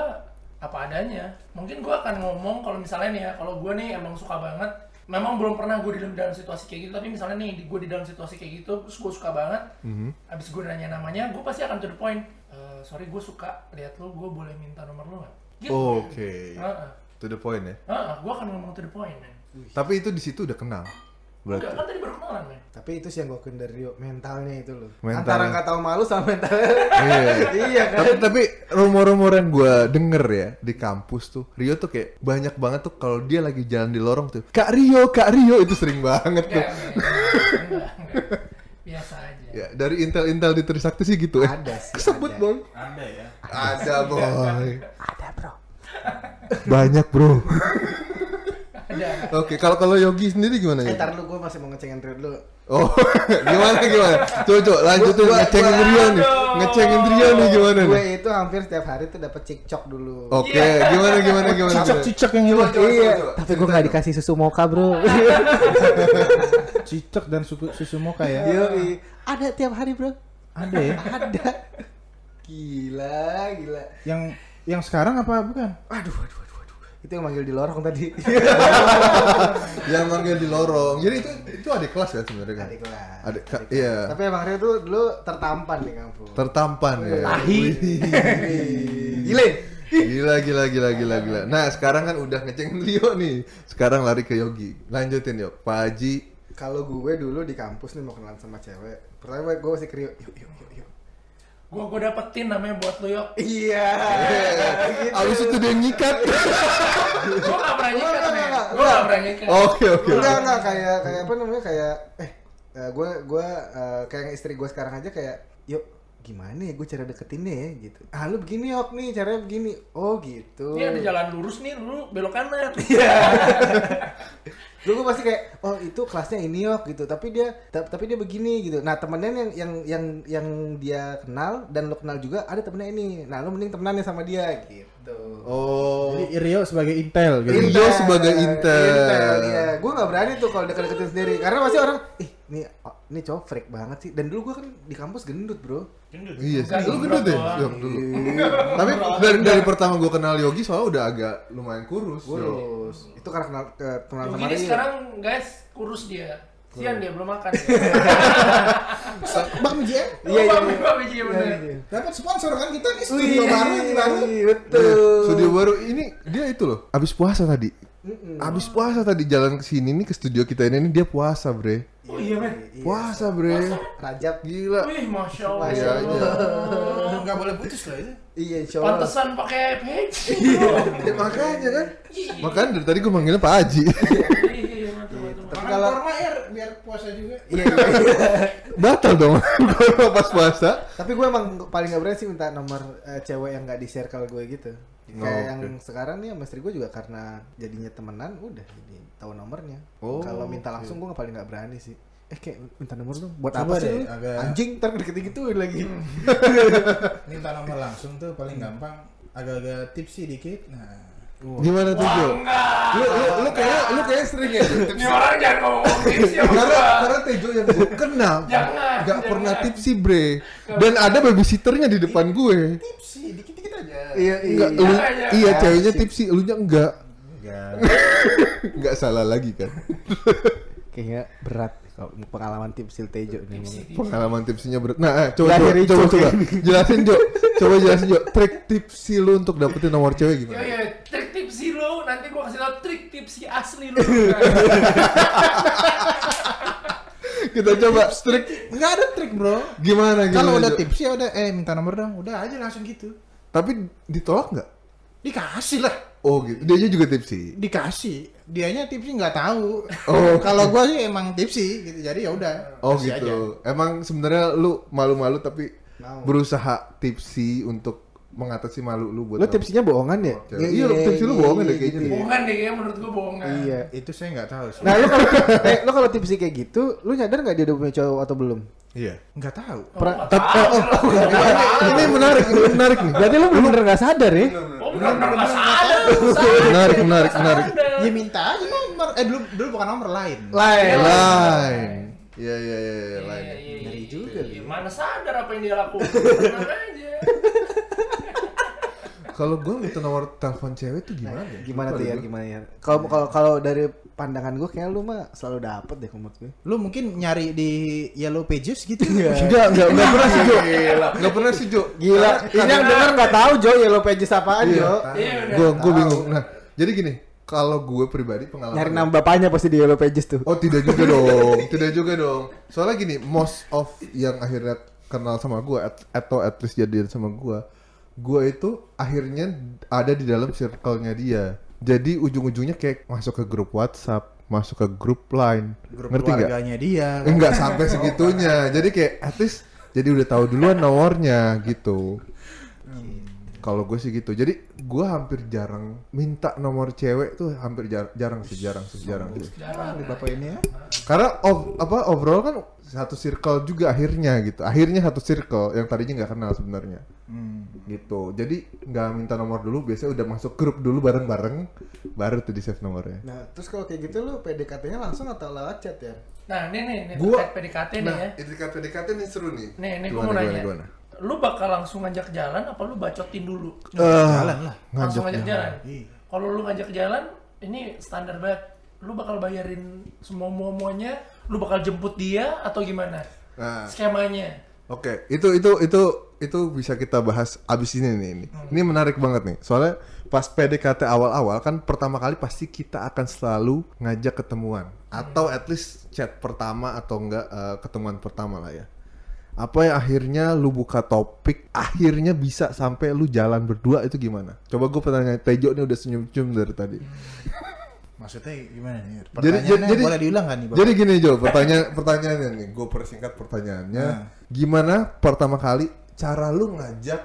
S2: apa adanya mungkin gue akan ngomong kalau misalnya nih ya kalau gue nih emang suka banget memang belum pernah gue di dalam- dalam situasi kayak gitu tapi misalnya nih gue di dalam situasi kayak gitu terus gue suka banget
S1: Mhm.
S2: abis gue nanya namanya gue pasti akan to the point "Eh, sorry gue suka lihat lu gue boleh minta nomor lu nggak gitu
S1: Oh, Oke.
S2: Heeh.
S1: To the point ya.
S2: Heeh, gue akan ngomong to the point men
S1: Tapi itu di situ udah kenal. Berarti.
S2: Enggak,
S3: [LAUGHS]
S2: kan tadi baru kenalan men
S3: Tapi itu sih yang gue akuin dari Rio, mentalnya itu loh.
S1: Mental.
S3: Antara nggak tahu malu sama mentalnya.
S1: Iya.
S3: iya kan.
S1: tapi tapi rumor-rumor yang gue denger ya di kampus tuh Rio tuh kayak banyak banget tuh kalau dia lagi jalan di lorong tuh Kak Rio Kak Rio itu sering banget tuh
S2: Enggak, men.
S3: Iya.
S2: Enggak, enggak. biasa aja
S1: ya dari intel-intel di Trisakti sih gitu ya
S3: Ada sih,
S1: [LAUGHS] kesebut
S3: ada.
S1: boy
S6: Ada ya.
S4: Iya.
S1: ada boy ada bro banyak bro
S2: Ada.
S1: Oke, kalau kalau Yogi sendiri gimana ya?
S3: Eh, ntar lu gue masih mau ngecengin Rio dulu.
S1: Oh, [LAUGHS] gimana gimana? Coba coba lanjutin
S3: Gua-
S1: ngecengin
S3: gua-
S1: Rio nih.
S2: aduh.
S1: Ngecengin Rio nih gimana Oh. nih?
S3: Gue itu hampir setiap hari tuh dapat cikcok dulu.
S1: Oke, gimana gimana gimana? gimana? Iya.
S4: cicak yang
S1: Coba,
S4: hilang
S1: coba, coba, coba.
S5: Tapi gue nggak dikasih susu moka bro.
S4: cicak dan susu, susu moka ya
S3: Yoi. Ada tiap hari bro.
S4: ada ya
S3: Ada. Gila, gila.
S4: yang yang sekarang apa bukan
S3: Aduh, aduh, aduh, aduh. Itu yang manggil di lorong
S1: [LAUGHS]
S3: tadi.
S1: Yang manggil di lorong. Jadi itu itu adik kelas ya sebenarnya kan?
S3: Adik kelas.
S1: Adik ke- iya.
S3: Tapi emang Rio tuh dulu tertampan di kampung.
S1: Tertampan ya.
S4: Tahi.
S3: Gile.
S1: [LAUGHS] Gila gila gila gila gila. Nah, sekarang kan udah ngecengin Rio nih. Sekarang lari ke Yogi. Lanjutin yuk. Pak Haji.
S3: Kalau gue dulu di kampus nih mau kenalan sama cewek. Pertama gue masih ke Rio. Yuk, yuk, yuk, yuk.
S2: Gua gua dapetin namanya buat lu yuk.
S3: [LAUGHS] Iya. Gitu.
S1: Abis itu dia nyikat. [LAUGHS]
S2: Gua gak pernah nyikat
S3: Enggak,
S2: nih.
S3: enggak,
S2: Gua gak pernah nyikat.
S1: Oke oke.
S3: enggak enggak kayak kayak apa namanya kayak eh eh, gue gue eh, kayak yang istri gue sekarang aja kayak yuk gimana ya gue cara deketinnya ya gitu ah lu begini ok nih caranya begini oh gitu
S2: Ini ada Iya, jalan lurus nih, lu belok
S3: [LAUGHS]
S2: kanan.
S3: Iya. lu gue pasti kayak oh itu kelasnya ini ok gitu tapi dia ta- tapi dia begini gitu nah temennya yang yang yang yang dia kenal dan lu kenal juga ada temennya ini nah lu mending temenannya sama dia gitu
S1: Oh.
S4: jadi Rio sebagai intel gitu
S1: Intel. Indo sebagai Intel.
S3: iya. Gue gak berani tuh kalau deket-deketin sendiri. Karena masih orang, ih ini, oh, ini cowok freak banget sih. Dan dulu gue kan di kampus gendut bro.
S1: Iya sih.
S2: Enggak,
S1: Lu
S2: enggak
S1: gendut ya?
S2: doang.
S1: Iya, dulu. Tapi dari, dari pertama gue kenal Yogi soalnya udah agak lumayan kurus. Yo.
S3: Terus, itu karena kenal, ke, kenal sama
S2: Begini
S3: Rio.
S2: sekarang guys, kurus dia. Sian dia belum
S3: [LAUGHS]
S2: makan.
S4: Bang JM
S3: Iya, iya, iya.
S2: Gua biji bener.
S4: dapat sponsor kan kita nih
S3: Wih,
S4: studio baru yang baru
S1: Iya,
S3: Betul.
S1: Studio baru ini dia itu loh. Abis puasa tadi. Abis puasa tadi jalan ke sini nih ke studio kita ini nih dia puasa bre.
S2: Oh iya men.
S1: Puasa bre.
S3: Rajab.
S1: Gila.
S2: Wih, masya Allah.
S1: Iya aja.
S4: nggak boleh putus lah itu
S3: Iya, insya Allah.
S2: [LAUGHS] Pantesan pakai
S3: [LAUGHS]
S2: peci.
S3: Iya.
S1: Ya, makanya kan. Makanya dari tadi gue manggilnya Pak Haji. [LAUGHS]
S2: Iya,
S3: Tapi kalau,
S4: air Er, biar puasa juga
S3: iya, iya.
S1: Batal dong [LAUGHS] kalau pas puasa.
S3: Tapi gue emang paling gak berani sih minta nomor eh, cewek yang gak di circle gue gitu. Kayak
S1: Oh,
S3: yang
S1: oke.
S3: sekarang nih sama istri gue juga karena jadinya temenan udah jadi tahu nomornya.
S1: Oh,
S3: Kalau minta langsung gue paling gak berani sih. Eh kayak minta nomor dong. Buat
S4: Coba
S3: apa sih lu?
S4: deh, agak-
S3: Anjing ntar deket gitu lagi. [LAUGHS]
S4: minta nomor langsung tuh paling gampang agak-agak tipsy dikit nah
S1: Gimana tuh Jo?
S2: Enggak.
S1: Lu lu lu kayak lu
S3: Eh,
S1: kayak sering ya. Jo?
S2: Ini orang jangan ngomong ya, tipsi sama
S1: karena
S2: gua.
S1: karena Tejo yang gue kenal
S2: Jangan,
S3: Ya.
S1: nggak
S2: jangan.
S1: pernah tipsi bre dan ada babysitternya di depan gue
S4: tipsy dikit-dikit aja
S3: Iya, iya.
S1: nggak lu
S2: Iya, iya.
S1: iya ceweknya tipsi lu nya enggak
S4: enggak
S1: nggak salah lagi kan
S3: Kayaknya berat kalau pengalaman tipsil Tejo nih.
S1: pengalaman tipsinya berat nah eh, coba coba
S3: Lahir
S1: coba,
S3: hijau,
S1: coba.
S3: kan?
S1: jelasin Jo coba jelasin Jo trik tipsi lu untuk dapetin nomor cewek
S2: Yo
S1: gimana
S2: yo, trik tipsi lu, nanti gua kasih tau trik tipsi asli
S1: [LAUGHS]
S2: lu.
S1: kita coba trik
S4: nggak ada trik bro
S1: gimana gimana
S4: kalau udah
S1: Jo?
S4: tipsy ya udah eh minta nomor dong udah aja langsung gitu
S1: tapi ditolak nggak
S4: dikasih lah
S1: oh gitu dia juga tipsi
S4: dikasih dianya tipsy nggak tahu
S1: Oh.
S4: kalau gua sih emang tipsy gitu jadi ya udah
S1: Oh
S4: kasih aja.
S1: gitu. Emang sebenarnya lu malu-malu tapi berusaha tipsi untuk mengatasi malu lu buat
S3: Lu
S1: orang.
S3: tipsinya bohongan ya?
S1: Iya, iya, lu tipsi lu bohongan deh kayak gitu.
S2: bohongan deh kayaknya menurut gua bohongan.
S3: Iya.
S4: itu saya nggak tahu sih
S3: Nah, lu kalau eh, lu kalau tipsi kayak gitu, lu nyadar nggak dia udah punya cowok atau belum?
S1: Iya.
S4: nggak tahu
S2: Pra-
S1: Tapi oh, oh, ini, ini menarik, ini menarik nih.
S5: Berarti lu bener-bener nggak sadar ya?
S2: Oh, benar-benar nggak sadar.
S1: menarik, menarik, menarik.
S4: ya
S2: Iya,
S4: minta aja nomor eh dulu dulu bukan nomor lain
S3: Lain.
S1: Lain. Iya, iya, iya, iya, lain.
S2: Dari
S3: juga
S2: Iya, mana sadar apa yang dia
S1: [LAUGHS]
S2: lakukan. Benar aja.
S1: Kalau gua minta nomor telepon cewek tuh gimana? ya?
S3: Gimana
S1: Lupa
S3: tuh
S1: deh
S3: ya?
S1: gua.
S3: Gimana ya? Kalau kalau kalau dari pandangan gue kayak lu mah selalu dapet deh kalau menurut gue.
S4: lu mungkin nyari di yellow pages gitu
S1: Enggak, enggak, enggak pernah sih, Jo. Enggak pernah sih, Jo.
S3: Gila, ini yang denger nggak tahu Jo Yellow Pages apaan Jo.
S2: Iya, udah.
S1: Gua gua bingung. Nah, jadi gini, kalau gue pribadi pengalaman
S3: Nyari nama bapaknya pasti di Yellow Pages tuh.
S1: Oh tidak juga dong, tidak juga dong. Soalnya gini, most of yang akhirnya kenal sama gue at- atau at least jadian sama gue, gue itu akhirnya ada di dalam circle-nya dia. Jadi ujung-ujungnya kayak masuk ke grup WhatsApp, masuk ke grup Line,
S4: grup
S1: ngerti Eh, nggak?
S4: keluarganya dia
S1: Enggak sampai segitunya. Jadi kayak at least jadi udah tahu duluan nomornya gitu. Kalau gue sih gitu. Jadi gue hampir jarang minta nomor cewek tuh hampir jar- jarang sih jarang sih jarang sih.
S2: Jarang.
S4: Di bapak ini ya.
S1: Karena ov- apa overall kan satu circle juga akhirnya gitu. Akhirnya satu circle yang tadinya nggak kenal sebenarnya
S4: Hmm.
S1: gitu. Jadi nggak minta nomor dulu, biasanya udah masuk grup dulu bareng-bareng, baru tuh di save nomornya.
S3: Nah, terus kalau kayak gitu lu PDKT-nya langsung atau lewat chat ya?
S2: Nah, ini nih, ini
S1: Gua- Nah.
S2: terkait PDKT nih ya.
S4: Iya.
S1: PDKT PDKT ini kan seru nih.
S2: Nih, ini gua mau nanya. Lu bakal langsung ngajak jalan apa lu bacotin dulu?
S1: Eh, jalan
S4: lah.
S2: langsung ngajak jalan.
S4: Iya.
S2: Kalau lu ngajak jalan, ini standar banget. Lu bakal bayarin semua muamuanya, lu bakal jemput dia atau gimana?
S1: Nah,
S2: Skemanya.
S1: Oke, itu itu itu itu bisa kita bahas abis ini nih ini. Ini menarik banget nih. Soalnya pas PDKT awal-awal kan pertama kali pasti kita akan selalu ngajak ketemuan atau at least chat pertama atau enggak eh, ketemuan pertama lah ya. Apa yang akhirnya lu buka topik, akhirnya bisa sampai lu jalan berdua itu gimana? Coba gue pertanyaan Tejo nih udah senyum-senyum dari tadi.
S4: [LAUGHS] Maksudnya gimana nih?
S1: Jadi-
S4: Pertanyaannya
S1: jadi-
S4: boleh diulang nggak nih, Bapak?
S1: Jadi gini Jo, pertanyaan pertanyaannya nih, gue persingkat pertanyaannya.
S4: Nah.
S1: Gimana pertama kali cara lu ngajak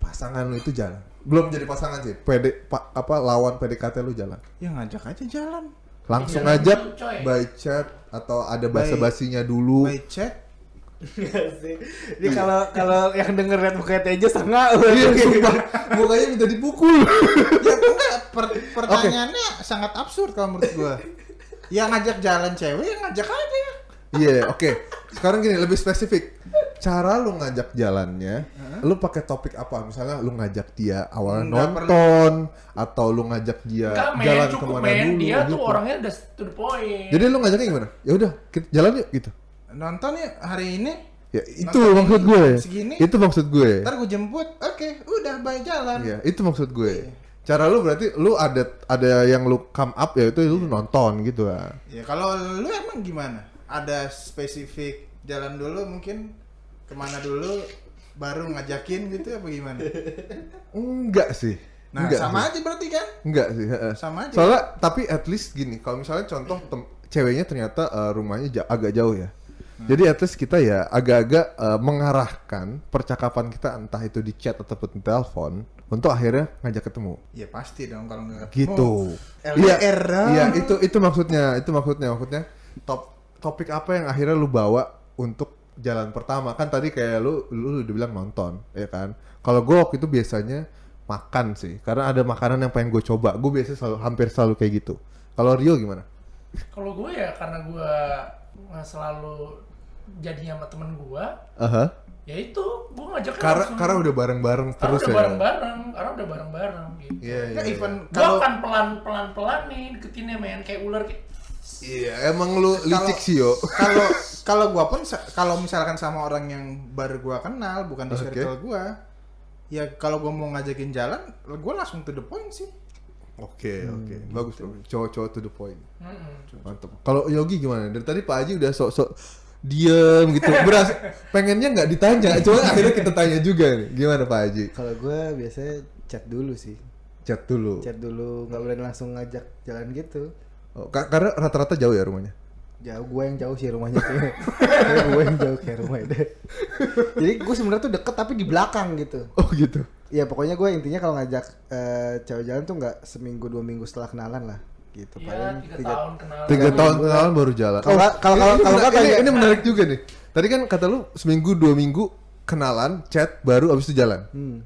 S1: pasangan lu itu jalan? Belum jadi pasangan sih, PD pa- apa lawan PDKT lu jalan.
S4: ya ngajak aja jalan.
S1: Langsung
S2: Jalan
S1: ngajak
S2: dulu, Iya, coy.
S1: by chat atau ada basa-basinya dulu.
S4: By [LAUGHS] chat.
S3: Ini kalau kalau yang denger liat mukanya Tejo setengah
S1: Iya, sumpah. Mukanya minta dipukul.
S4: Ya, enggak, per- pertanyaannya sangat absurd kalau menurut gua. Ya ngajak jalan cewek, ya ngajak aja.
S1: Iya, oke. Sekarang gini, lebih spesifik. Cara lu ngajak jalannya, lu pakai topik apa? Misalnya lu ngajak dia awalnya
S4: Nggak
S1: nonton, atau lu ngajak dia
S2: Enggak men,
S1: Nah, jalan
S2: cukup
S1: kemana
S2: men.
S1: dulu.
S2: Dia tuh
S1: gitu.
S2: orangnya udah to the
S4: Iya.
S2: point.
S1: Jadi lu ngajaknya gimana? Ya udah, kita jalan yuk gitu.
S4: Nonton yuk hari ini.
S1: Ya itu
S4: Nonton
S1: maksud
S4: ini,
S1: gue.
S4: segini.
S1: Itu maksud gue.
S4: Ntar gua jemput. Oke, udah bye jalan.
S1: Iya, itu maksud gue. Cara lu berarti lu ada ada yang lu come up ya itu
S4: Iya.
S1: lu nonton gitu kan.
S4: Ya kalau lu emang gimana? Ada spesifik jalan dulu mungkin kemana dulu baru ngajakin gitu apa gimana?
S1: Enggak sih.
S4: Nah
S1: Enggak
S4: sama
S1: sih.
S4: aja berarti kan?
S1: Enggak sih. heeh.
S4: Sama aja.
S1: Soalnya tapi at least gini, kalau misalnya contoh tem- ceweknya ternyata eh, rumahnya ja- agak jauh ya.
S4: Hmm.
S1: Jadi at least kita ya agak-agak eh, mengarahkan percakapan kita entah itu di chat ataupun telepon untuk akhirnya ngajak ketemu.
S4: Ya pasti dong kalau nggak ketemu.
S1: Gitu. Iya,
S4: LDR dong.
S1: iya itu itu maksudnya, itu maksudnya maksudnya top topik apa yang akhirnya lu bawa untuk jalan pertama kan tadi kayak lu lu udah bilang nonton ya kan kalau gue waktu itu biasanya makan sih karena ada makanan yang pengen gue coba gue biasanya selalu hampir selalu kayak gitu kalau Rio gimana
S2: Kalau gue ya karena gue nggak selalu jadi sama temen gue,
S1: Aha.
S2: ya itu gue ngajak
S1: karena karena udah bareng bareng terus ya
S2: udah bareng-bareng, karena udah bareng-bareng gitu.
S1: iya iya
S4: Nggak,
S1: iya.
S4: Ya, even
S2: Gue
S4: kalau
S2: akan pelan-pelan-pelan nih deketinnya men, kayak ular kayak
S1: iya emang lu licik sih yo
S4: kalau kalau gua pun sa- kalau misalkan sama orang yang baru gua kenal bukan di
S1: Oke.
S4: circle gua ya kalau gua mau ngajakin jalan gua langsung to the point sih
S1: oke
S5: Hmm,
S1: oke
S5: gitu.
S1: bagus bagus cowok-cowok to the point
S2: "Mm-mm."
S1: Mantap. Kalau Yogi gimana? Dari tadi Pak Haji udah sok-sok diem gitu. Beras pengennya nggak ditanya, cuman akhirnya kita tanya juga nih. Gimana Pak Haji?
S5: Kalau gue biasanya chat dulu sih.
S1: Chat dulu.
S5: Chat dulu, nggak boleh langsung ngajak jalan gitu.
S1: Oh, ka- karena rata-rata jauh ya rumahnya. [LAUGHS]
S5: Jauh gue yang jauh sih rumahnya kayak. Kayak gue yang jauh kayak rumahnya deh. Jadi gue sebenarnya tuh deket tapi di belakang gitu.
S1: Oh gitu.
S5: Ya pokoknya gue intinya kalau ngajak eh, cewek jalan tuh nggak seminggu dua minggu setelah kenalan lah gitu.
S2: Iya, tiga tahun kenal.
S1: Tiga
S5: Tiga
S1: tahun
S5: minggu
S1: kenalan baru jalan. Oh,
S5: Kalau nggak- kalau- kalau-
S1: ini,
S5: kalau nggak
S1: ini-
S5: kayak-
S1: ini menarik juga nih. Tadi kan kata lu seminggu dua minggu kenalan, chat baru abis itu jalan.
S5: Hmm,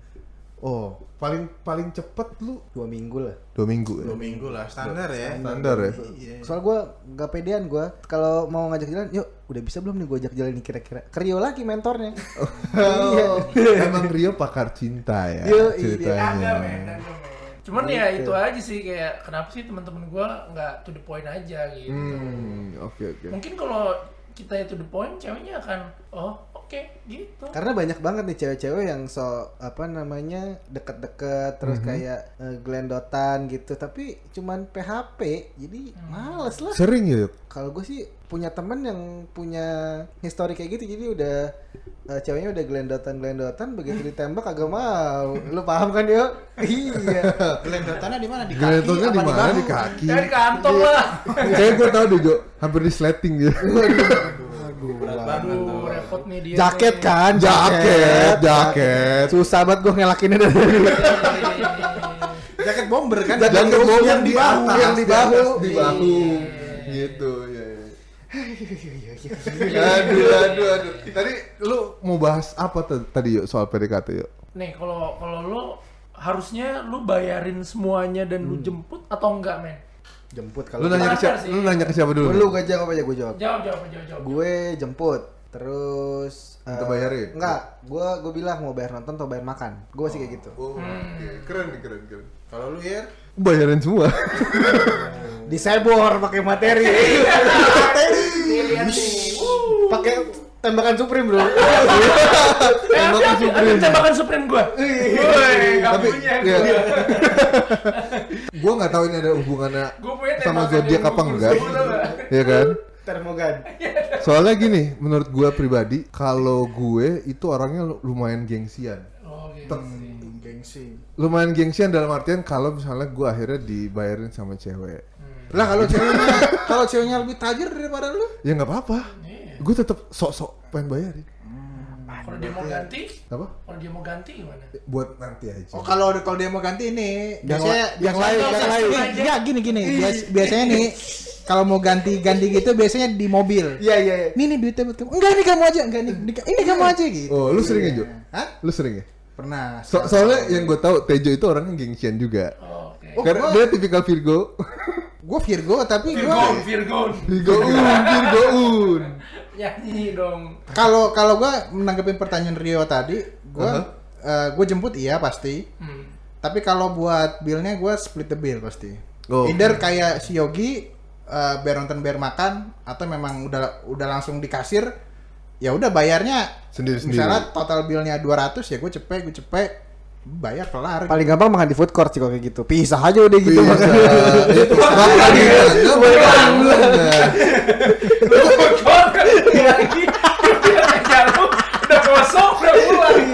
S1: Oh, paling paling cepet lu
S5: dua minggu lah.
S1: dua minggu ya.
S4: dua minggu lah standar ya
S1: Standar ya.
S4: Iya.
S5: Soal gue nggak pedean gue kalau mau ngajak jalan, yuk udah bisa belum nih gue ajak jalan nih kira-kira. Kerio lagi
S1: [LAUGHS]
S5: mentornya.
S1: Oh, emang Rio pakar cinta ya
S5: Yo, iya.
S1: ceritanya.
S2: Kagak men, kagak, men. Cuman ya itu aja sih kayak kenapa sih teman-teman gue nggak to the point aja gitu.
S1: Hmm, oke oke.
S2: Mungkin kalau kita itu the point, ceweknya akan oh oke gitu.
S3: Kan
S5: Karena banyak banget nih cewek-cewek yang so apa namanya deket-deket terus
S1: Mhm.
S5: kayak eh, gelendotan gitu, tapi cuman PHP, jadi
S1: Hmm.
S5: males lah.
S1: Sering ya, Yuk?
S5: Kalau gue sih punya temen yang punya histori kayak gitu, jadi udah eh, ceweknya udah gelendotan-gelendotan, begitu ditembak agak
S1: [LAUGHS]
S5: mau. Lu paham kan yo? iya.
S4: gelendotannya di mana di kaki
S1: Gelendotannya di
S4: apa
S1: mana?
S4: bahu?
S1: Di kaki.
S2: Dari kantong lah.
S4: Oh, iya.
S1: Kayak gue tau deh, Jo. Hampir di sleting gitu.
S2: Berat banget tuh. Repot nih dia.
S4: Kan Jaket
S2: nih.
S4: kan,
S1: Jaket, jaket.
S4: Susah banget gue ngelakinnya dari dulu.
S3: Jaket Iya. bomber kan?
S4: Jaket
S1: Dan
S4: bomber
S1: kemudian
S4: yang di bahu, yang di bahu. Iya.
S1: Di bahu. Gitu, ya. ya. aduh, aduh, aduh. Tadi lu mau bahas apa t- tadi yuk soal PDKT yuk?
S2: Nih kalau kalau lu harusnya lu bayarin semuanya dan lu jemput atau enggak men?
S4: Jemput
S1: Lu
S4: kalau
S1: nanya ke siapa?
S2: Standar sih.
S1: Lu nanya ke
S5: gitu.
S1: siapa dulu? Oh,
S4: Lu kan- gak jawab aja gue jawab.
S2: Jawab jawab jawab jawab.
S4: Gue jemput, terus eh,
S1: Minta bayarin?
S4: Enggak, gue gue bilang mau bayar nonton atau bayar makan. Gue sih kayak gitu.
S1: Oh, oke. keren nih, keren, keren.
S3: Kalau lu ya,
S1: Bayarin semua.
S4: Disebor pakai materi.
S2: Nih, lihat nih. Wuh.
S4: pakai tembakan Supreme, Bro.
S2: Eh, ada, ada, ada tembakan Supreme gua. Woi, gak
S1: Tapi,
S2: punya
S1: iya.
S2: gua.
S1: gua nggak tahu ini ada hubungannya
S2: Gua punya
S1: sama
S2: tembakan
S1: zodiak
S2: yang
S1: apa
S2: gugur
S1: enggak.
S2: semua, tau nggak?
S1: Iya kan?
S4: Termogan.
S1: Soalnya gini, menurut gua pribadi, kalau gue itu orangnya lu- lumayan gengsian.
S2: Oh, gitu sih.
S3: Hmm, gengsi.
S1: Lumayan gengsian dalam artian kalau misalnya gua akhirnya dibayarin sama cewek.
S4: Hmm.
S3: Lah kalau ceweknya, kalau ceweknya lebih tajir daripada lu,
S1: Ya nggak apa-apa.
S2: Iya.
S1: Gue tetap sok-sok pengen bayarin.
S2: Kalau dia mau ganti,
S1: Apa?
S2: kalau dia mau ganti gimana?
S1: Buat nanti aja.
S3: Oh kalau kalau dia mau ganti ini,
S4: Yang
S3: biasanya
S4: la- yang lain,
S2: yang lain.
S3: Ya gini gini, bias- biasanya nih kalau mau ganti-ganti gitu biasanya di mobil.
S4: Iya, iya, iya.
S3: Ini nih duitnya buat kamu. Enggak ini kamu aja, enggak nih. Ini, ini kamu aja gitu.
S1: Oh, lu sering ya, Jo?
S3: Hah?
S1: Lu sering ya?
S3: Pernah.
S1: So- soalnya yang gue tahu Tejo itu orangnya gengsian juga.
S2: Oh, Oke.
S3: Oh,
S1: Karena
S3: gua-
S1: dia tipikal Virgo.
S3: Gue Virgo tapi gue
S2: Virgon, Virgon.
S1: Virgoun, Virgoun.
S2: Nyanyi dong.
S3: kalau kalau gue menanggapi pertanyaan Rio tadi, gue
S1: Uh-huh.
S3: gue jemput iya pasti.
S2: Hmm.
S3: Tapi kalau buat billnya gue split the bill pasti.
S1: Oh.
S3: Either kayak si Yogi eh bayar nonton bayar makan atau memang udah udah langsung di kasir ya udah bayarnya
S1: Sendiri-sendiri.
S3: Misalnya total billnya 200 ya gue cepet gue cepet bayar kelar.
S4: Paling gampang makan di food court sih kalau kayak gitu. Pisah aja udah gitu.
S1: Bisa.
S4: makan.
S1: Itu bakal dianggap benar.
S2: Virgon kan dia lagi. Dia jarum udah kosong udah pulang.